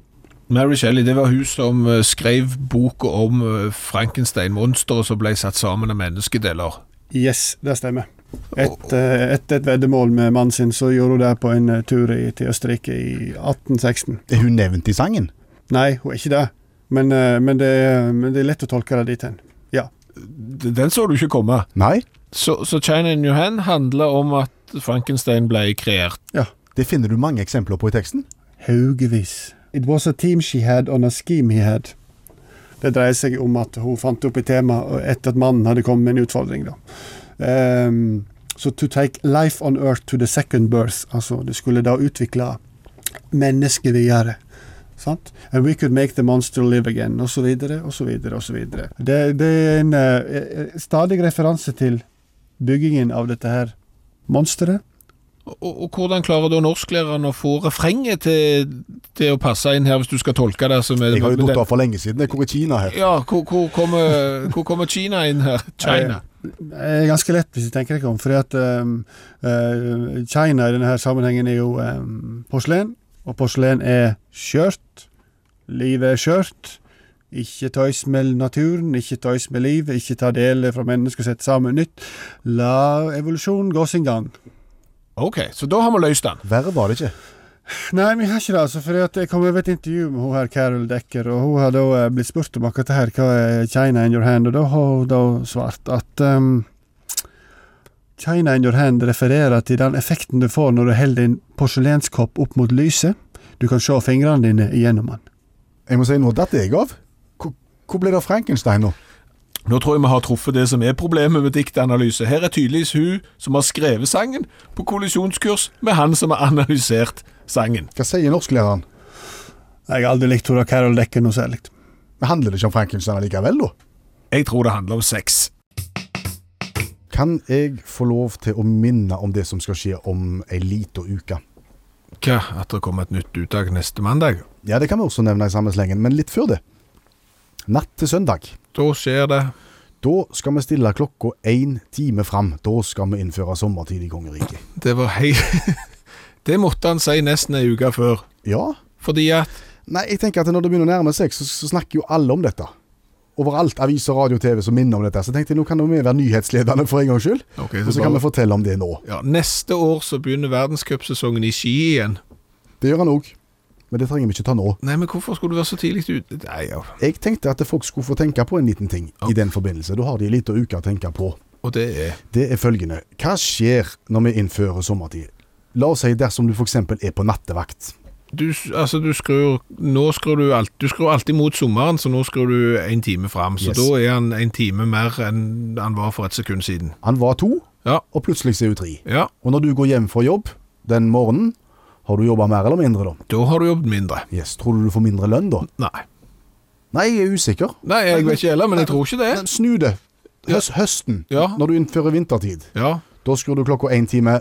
[SPEAKER 3] Mary Shelley det var hun som eh, skrev boka om eh, Frankenstein-monsteret som ble satt sammen av menneskedeler.
[SPEAKER 7] Yes, det stemmer. Et, eh, Etter et veddemål med mannen sin, så gjorde hun det på en eh, tur i, til Østerrike i 1816.
[SPEAKER 2] Er hun nevnt i sangen?
[SPEAKER 7] Nei, hun er ikke det, men, eh, men, det, er- men det er lett å tolke det dit hen. Ja.
[SPEAKER 3] D- Den så du ikke komme.
[SPEAKER 2] Nei.
[SPEAKER 3] Så, så China in your hand handler om at Frankenstein ble kreert
[SPEAKER 7] Ja.
[SPEAKER 2] Det finner du mange eksempler på i teksten.
[SPEAKER 7] Haugevis. It was a team she had on a scheme he had. Det dreier seg om at hun fant opp et tema etter at mannen hadde kommet med en utfordring. Da. Ehm, så to take life on earth to the second birth. Altså, det skulle da utvikle mennesket videre. Sant? And we could make the monster live again, og så videre, og så videre, og så videre. Det, det er en eh, stadig referanse til byggingen av dette her monsteret.
[SPEAKER 3] Og, og hvordan klarer da norsklæreren å få refrenget til, til å passe inn her, hvis du skal tolke det som
[SPEAKER 2] Jeg har jo datt av for lenge siden. Jeg går i Kina her.
[SPEAKER 3] Ja, hvor, hvor, kommer, hvor kommer Kina inn her? China.
[SPEAKER 7] er ganske lett hvis jeg tenker ikke om, fordi at um, eh, China i denne her sammenhengen er jo um, porselen, og porselen er skjørt. Livet er skjørt. Ikke tøys med naturen, ikke tøys med livet, ikke ta deler fra mennesker og sette sammen nytt. La evolusjonen gå sin gang.
[SPEAKER 3] Ok, så da har vi løst den.
[SPEAKER 2] Verre var det ikke.
[SPEAKER 7] Nei, vi har ikke det, altså, fordi at jeg kom over et intervju med hun her Carol Decker, og hun har da eh, blitt spurt om akkurat det her, hva er China in your hand, og da har hun da svart at ehm, China in your hand refererer til den effekten du får når du holder din porselenskopp opp mot lyset. Du kan se fingrene dine igjennom den.
[SPEAKER 2] Jeg må si, nå datt jeg av. Hvor, hvor ble det av Frankenstein nå?
[SPEAKER 3] Nå tror jeg vi har truffet det som er problemet med diktanalyse. Her er tydeligvis hun som har skrevet sangen, på kollisjonskurs med han som har analysert sangen.
[SPEAKER 2] Hva sier norsklæreren?
[SPEAKER 7] Jeg har aldri likt hun der Carol Decker noe særlig.
[SPEAKER 2] Men handler det ikke om Frankenstein likevel, da?
[SPEAKER 3] Jeg tror det handler om sex.
[SPEAKER 2] Kan jeg få lov til å minne om det som skal skje om ei lita uke?
[SPEAKER 3] Hva, at det kommer et nytt uttak neste mandag?
[SPEAKER 2] Ja, det kan vi også nevne i samme slengen, men litt før det. Natt til søndag.
[SPEAKER 3] Da skjer det.
[SPEAKER 2] Da skal vi stille klokka én time fram. Da skal vi innføre sommertid i kongeriket.
[SPEAKER 3] Det var hei... [LAUGHS] det måtte han si nesten ei uke før.
[SPEAKER 2] Ja?
[SPEAKER 3] Fordi at
[SPEAKER 2] Nei, jeg tenker at når det begynner å nærme seg, så, så snakker jo alle om dette. Overalt, aviser, radio, TV som minner om dette. Så jeg tenkte jeg, nå kan jo vi være nyhetsledende for en gangs skyld.
[SPEAKER 3] Ok,
[SPEAKER 2] og så
[SPEAKER 3] bare-
[SPEAKER 2] kan vi fortelle om det nå.
[SPEAKER 3] ja, Neste år så begynner verdenscupsesongen i ski igjen.
[SPEAKER 2] Det gjør han òg. Men det trenger vi ikke ta nå.
[SPEAKER 3] Nei, men hvorfor skulle du være så tidlig ute? Nei, ja.
[SPEAKER 2] Jeg tenkte at folk skulle få tenke på en liten ting i den forbindelse. Da har de en liten uke å tenke på.
[SPEAKER 3] Og det er
[SPEAKER 2] Det er følgende. Hva skjer når vi innfører sommertid? La oss si dersom du f.eks. er på nattevakt.
[SPEAKER 3] du, s- altså, du skrur Nå skrur du alt Du skrur alltid mot sommeren, så nå skrur du en time fram. Så
[SPEAKER 2] Yes.
[SPEAKER 3] da er han en time mer enn han var for et sekund siden.
[SPEAKER 2] Han var to,
[SPEAKER 3] Ja.
[SPEAKER 2] og plutselig så er hun tre.
[SPEAKER 3] Ja,
[SPEAKER 2] Og når du går hjem fra jobb den morgenen, har du jobba mer eller mindre da?
[SPEAKER 3] da har du jobbet mindre.
[SPEAKER 2] Yes, Tror du du får mindre lønn da?
[SPEAKER 3] Nei.
[SPEAKER 2] Nei, jeg er usikker.
[SPEAKER 3] Nei, jeg vet ikke heller, men jeg tror ikke det.
[SPEAKER 2] Men Snu det. Høs, høsten,
[SPEAKER 3] Ja.
[SPEAKER 2] når du innfører vintertid.
[SPEAKER 3] Ja,
[SPEAKER 2] Da skrur du klokka én time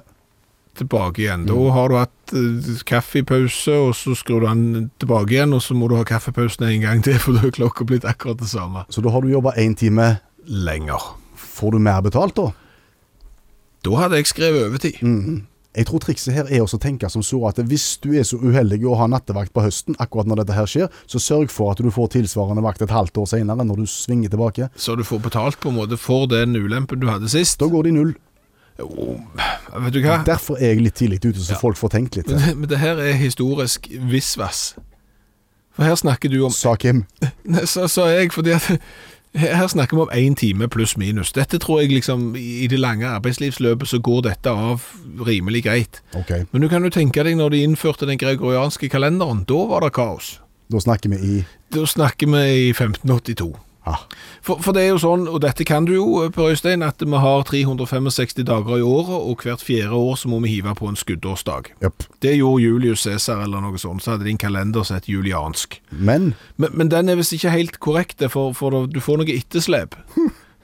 [SPEAKER 3] tilbake igjen.
[SPEAKER 2] Mm.
[SPEAKER 3] Da har du hatt eh, kaffepause, og så skrur du den tilbake igjen, og så må du ha kaffepausen en gang til, [LAUGHS] for da er klokka blitt akkurat det samme.
[SPEAKER 2] Så da har du jobba én time.
[SPEAKER 3] Lenger.
[SPEAKER 2] Får du mer betalt da?
[SPEAKER 3] Da hadde jeg skrevet overtid.
[SPEAKER 2] Mm. Jeg tror trikset her er også å tenke som så at hvis du er så uheldig å ha nattevakt på høsten, akkurat når dette her skjer, så sørg for at du får tilsvarende vakt et halvt år senere når du svinger tilbake.
[SPEAKER 3] Så du får betalt på en måte for den ulempen du hadde sist.
[SPEAKER 2] Da går det i null.
[SPEAKER 3] Jo, vet du hva?
[SPEAKER 2] Derfor er jeg litt tidlig ute, så folk får tenkt litt.
[SPEAKER 3] Men det, men det her er historisk visvas. For her snakker du om
[SPEAKER 2] Sa Kim.
[SPEAKER 3] Nei, Så sa jeg, fordi at her snakker vi om én time pluss minus. Dette tror jeg liksom I det lange arbeidslivsløpet så går dette av rimelig greit.
[SPEAKER 2] Ok,
[SPEAKER 3] Men du kan jo tenke deg når de innførte den gregorianske kalenderen. Da var det kaos.
[SPEAKER 2] da snakker vi i
[SPEAKER 3] Da snakker vi i 1582.
[SPEAKER 2] ah,
[SPEAKER 3] For, for det er jo sånn, og dette kan du jo, Per Øystein, at vi har 365 dager i året, og hvert fjerde år så må vi hive på en skuddårsdag.
[SPEAKER 2] jøpp.
[SPEAKER 3] Det gjorde Julius Cæsar eller noe sånt, så hadde de en kalender som het juliansk.
[SPEAKER 2] Men
[SPEAKER 3] Men, men den er visst ikke helt korrekt, det, for, for du får noe etterslep.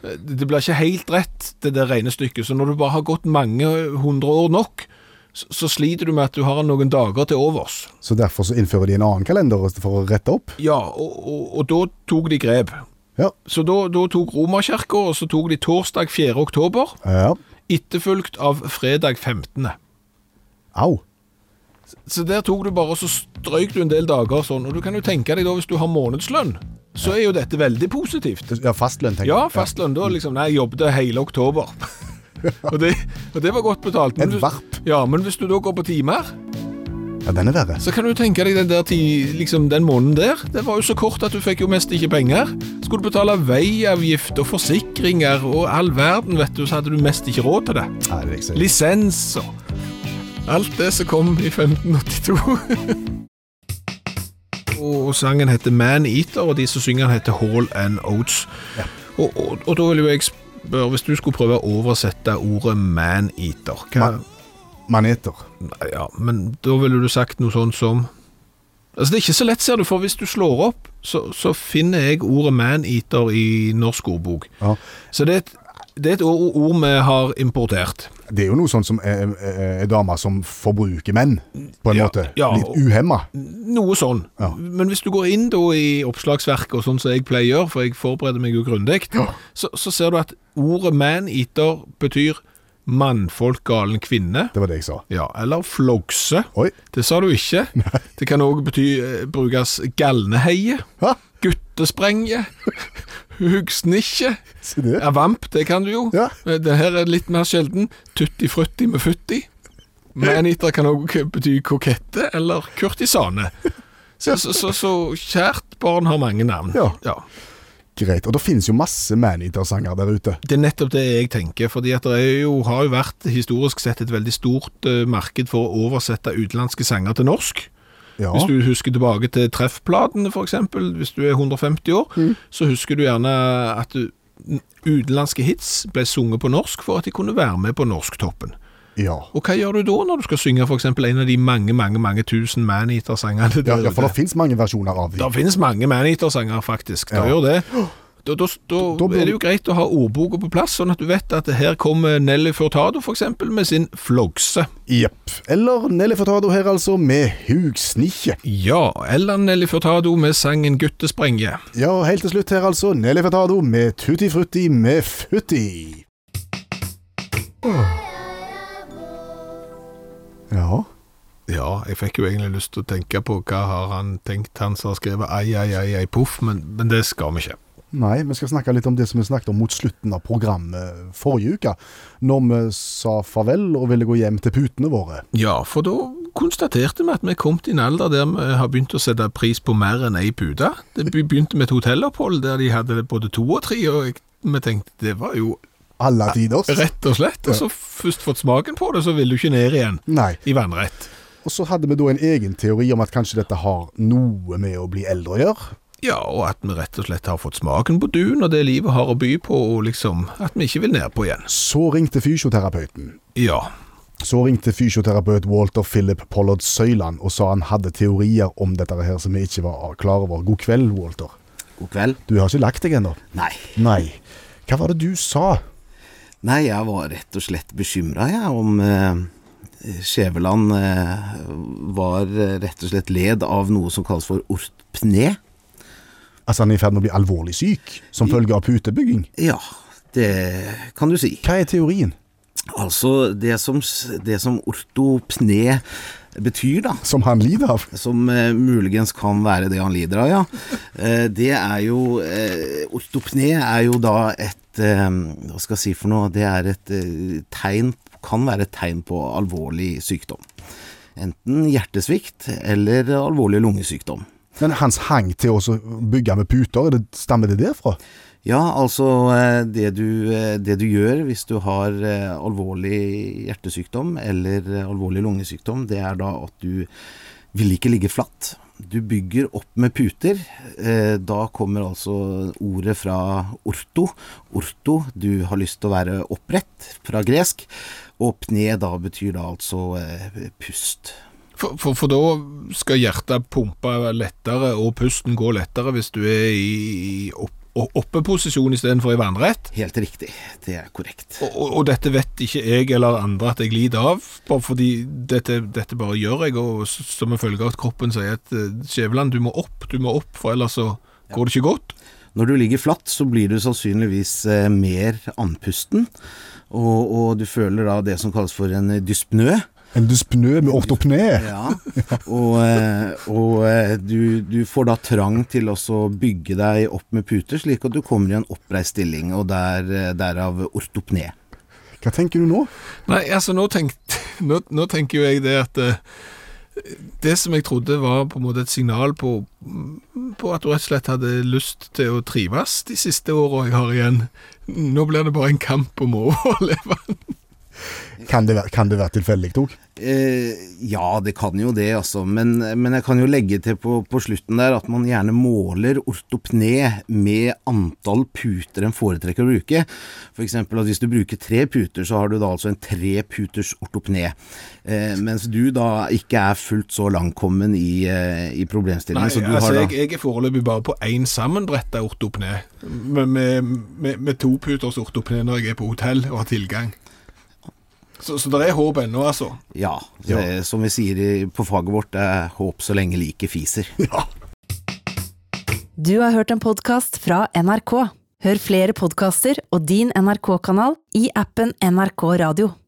[SPEAKER 3] Det det blir ikke helt rett, det der regnestykket. Så når du bare har gått mange hundre år nok, så, så sliter du med at du har noen dager til overs.
[SPEAKER 2] Så derfor så innfører de en annen kalender for å rette opp?
[SPEAKER 3] Ja, og, og, og da tok de grep.
[SPEAKER 2] Ja.
[SPEAKER 3] Så da, da tok Romerkirka, og så tok de torsdag 4. oktober,
[SPEAKER 2] ja.
[SPEAKER 3] etterfulgt av fredag 15.
[SPEAKER 2] Au.
[SPEAKER 3] Så der tok du bare og så strøyk du en del dager sånn. Og du kan jo tenke deg da, hvis du har månedslønn, så er jo dette veldig positivt.
[SPEAKER 2] Ja, fastlønn, tenker
[SPEAKER 3] Ja,
[SPEAKER 2] jeg.
[SPEAKER 3] fastlønn. Da liksom Nei, jeg jobbet hele oktober. og, det, og det var godt betalt.
[SPEAKER 2] En
[SPEAKER 3] hvis-
[SPEAKER 2] varp.
[SPEAKER 3] Ja, men hvis du da går på timer,
[SPEAKER 2] Ja, den er verre.
[SPEAKER 3] så kan du tenke deg den der ti, liksom den måneden der. Det var jo så kort at du fikk jo mest ikke penger. Skulle du betale veiavgift og forsikringer og all verden, vet du, så hadde du mest ikke råd til det.
[SPEAKER 2] Nei, det er ikke så-
[SPEAKER 3] Lisens og Alt det som kom i 1582. [LAUGHS] og sangen heter Man Eater, og de som synger den heter Hall and Oates. Og, og, og da vil jo jeg spørre, hvis du skulle prøve å oversette ordet Man Eater, hva
[SPEAKER 2] Man- Maneter.
[SPEAKER 3] Ja, men da ville du sagt noe sånt som Altså, det er ikke så lett, ser du, for hvis du slår opp, så, så finner jeg ordet man-eater i norsk ordbok.
[SPEAKER 2] Ja.
[SPEAKER 3] Så det er et, det er et ord, ord vi har importert.
[SPEAKER 2] Det er jo noe sånn som er, er damer som forbruker menn, på en
[SPEAKER 3] Ja,
[SPEAKER 2] måte.
[SPEAKER 3] ja, og-
[SPEAKER 2] Litt uhemma.
[SPEAKER 3] Noe sånn.
[SPEAKER 2] Ja.
[SPEAKER 3] Men hvis du går inn da i oppslagsverket, og sånn som jeg pleier å gjøre, for jeg forbereder meg jo grundig, så, så ser du at ordet man-eater betyr mannfolk galen kvinne.
[SPEAKER 2] Det var det jeg sa.
[SPEAKER 3] Ja, eller flogse.
[SPEAKER 2] Oi.
[SPEAKER 3] Det sa du ikke. Det kan òg bety eh, brukes galneheie.
[SPEAKER 2] Hæ?
[SPEAKER 3] Guttesprenge. Hugsnikkje.
[SPEAKER 2] Se det.
[SPEAKER 3] Ja, vamp, det kan du jo.
[SPEAKER 2] Ja.
[SPEAKER 3] Eh, Det her er litt mer sjelden. Tutti-frutti med futti. Maneater kan òg bety kokette eller kurtisane. Så, så, så, så kjært barn har mange navn.
[SPEAKER 2] Ja.
[SPEAKER 3] ja.
[SPEAKER 2] Greit. Og det finnes jo masse maneater-sanger der ute.
[SPEAKER 3] Det er nettopp det jeg tenker, fordi at det er jo, har jo vært historisk sett et veldig stort eh, marked for å oversette utenlandske sanger til norsk.
[SPEAKER 2] Ja.
[SPEAKER 3] Hvis du husker tilbake til treffplatene f.eks., hvis du er 150 år,
[SPEAKER 2] Mm.
[SPEAKER 3] så husker du gjerne at du- utenlandske hits ble sunget på norsk for at de kunne være med på norsktoppen.
[SPEAKER 2] Ja.
[SPEAKER 3] Og hva gjør du da når du skal synge f.eks. en av de mange, mange mange tusen Maneater-sangene?
[SPEAKER 2] Ja, ja, for
[SPEAKER 3] [LAUGHS]
[SPEAKER 2] det finnes mange versjoner av
[SPEAKER 3] Det
[SPEAKER 2] dem.
[SPEAKER 3] finnes mange Maneater-sanger, faktisk. Det
[SPEAKER 2] Ja.
[SPEAKER 3] gjør det.
[SPEAKER 2] [GASPS]
[SPEAKER 3] Da, da, da,
[SPEAKER 2] Da bør-
[SPEAKER 3] er det jo greit å ha ordboka på plass, sånn at du vet at her kommer Nelly Furtado f.eks. med sin flogse.
[SPEAKER 2] Jepp. Eller Nelly Furtado her, altså, med hugsnikkje.
[SPEAKER 3] Ja, eller Nelly Furtado med sangen 'Guttesprenge'.
[SPEAKER 2] Ja, og helt til slutt her, altså, Nelly Furtado med Tutti Frutti med Futti. Ja.
[SPEAKER 3] Ja, jeg fikk jo egentlig lyst til å tenke på hva har han tenkt, han som har skrevet ai, ai, ai, ai, poff, men, men det skal vi ikke.
[SPEAKER 2] Nei, vi skal snakke litt om det som vi snakket om mot slutten av programmet forrige uke, når vi sa farvel og ville gå hjem til putene våre.
[SPEAKER 3] Ja, for da konstaterte vi at vi er kommet i en alder der vi har begynt å sette pris på mer enn ei pute. Det be- begynte med et hotellopphold der de hadde både to og tre, og jeg, vi tenkte det var jo
[SPEAKER 2] Alle tiders.
[SPEAKER 3] rett og slett. Og så først fått smaken på det, så ville du ikke ned igjen
[SPEAKER 2] Nei.
[SPEAKER 3] i vannrett.
[SPEAKER 2] Og så hadde vi da en egen teori om at kanskje dette har noe med å bli eldre å gjøre.
[SPEAKER 3] Ja, og at vi rett og slett har fått smaken på dun og det livet har å by på, og liksom at vi ikke vil ned på igjen.
[SPEAKER 2] Så ringte fysioterapeuten.
[SPEAKER 3] Ja.
[SPEAKER 2] Så ringte fysioterapeut Walter Philip Pollard Søyland og sa han hadde teorier om dette her som vi ikke var klar over. God kveld, Walter.
[SPEAKER 10] God kveld.
[SPEAKER 2] Du har ikke lagt deg ennå?
[SPEAKER 10] Nei.
[SPEAKER 2] Nei. Hva var det du sa?
[SPEAKER 10] Nei, jeg var rett og slett bekymra, jeg, om eh, Skjæveland eh, var eh, rett og slett led av noe som kalles for ortpné.
[SPEAKER 2] Altså han er i ferd med å bli alvorlig syk som følge av putebygging?
[SPEAKER 10] Ja, det kan du si.
[SPEAKER 2] Hva er teorien?
[SPEAKER 10] Altså, det som, s- det som ortopné betyr, da,
[SPEAKER 2] Som han lider av?
[SPEAKER 10] som eh, muligens kan være det han lider av, ja. Eh, det er jo eh, Ortopné er jo da et eh, Hva skal jeg si for noe? Det er et eh, tegn Kan være et tegn på alvorlig sykdom. Enten hjertesvikt eller alvorlig lungesykdom.
[SPEAKER 2] Men hans hang til å bygge med puter, er det, stammer det derfra?
[SPEAKER 10] Ja, altså eh, det du, eh, det du gjør hvis du har eh, alvorlig hjertesykdom eller eh, alvorlig lungesykdom, det er da at du vil ikke ligge flatt. Du bygger opp med puter. Eh, Da kommer altså ordet fra orto. Orto, du har lyst til å være opprett, fra gresk. Og pne da betyr da altså eh, pust.
[SPEAKER 3] For, for, for da skal hjertet pumpe lettere, og pusten gå lettere hvis du er i opp, opp- oppeposisjon istedenfor i vannrett.
[SPEAKER 10] Helt riktig, det er korrekt.
[SPEAKER 3] Og, og, og dette vet ikke jeg eller andre at jeg lider av, bare fordi dette, dette bare gjør jeg, og s- som en følge av at kroppen sier at eh, Skjæveland, du må opp, du må opp, for ellers så går det ikke godt.
[SPEAKER 10] Når du ligger flatt, så blir du sannsynligvis eh, mer andpusten, og, og du føler da det som kalles for en dyspnø.
[SPEAKER 2] En dyspnø med ortopné?
[SPEAKER 10] Ja. [LAUGHS] Og, eh, og eh, du, du får da trang til også å bygge deg opp med puter, slik at du kommer i en oppreist stilling, og der, eh, derav ortopné.
[SPEAKER 2] Hva tenker du nå?
[SPEAKER 3] Nei, altså nå, tenk, [LAUGHS] nå, nå tenker jo jeg det at eh, det som jeg trodde var på en måte et signal på, på at du rett og slett hadde lyst til å trives de [LAUGHS] siste åra jeg har igjen. Nå blir det bare en kamp om å overleve.
[SPEAKER 2] Kan det, være- kan det være tilfeldig òg?
[SPEAKER 10] Eh, ja, det kan jo det, altså. Men, men jeg kan jo legge til på, på slutten der at man gjerne måler ortopne med antall puter en foretrekker å bruke. F.eks. at hvis du bruker tre puter, så har du da altså en treputers ortopne. Eh, mens du da ikke er fullt så langkommen i, eh, i problemstillingen.
[SPEAKER 3] Nei,
[SPEAKER 10] så du
[SPEAKER 3] altså,
[SPEAKER 10] har da
[SPEAKER 3] jeg, jeg er foreløpig bare på én sammenbretta ortopne, med, med, med, med toputers ortopne når jeg er på hotell og har tilgang. Så, så det er håp ennå, altså.
[SPEAKER 10] Ja. Det, Som vi sier i, på faget vårt, det er håp så lenge liket fiser.
[SPEAKER 1] Du har hørt en podkast fra NRK. Hør flere podkaster og din NRK-kanal i appen NRK Radio.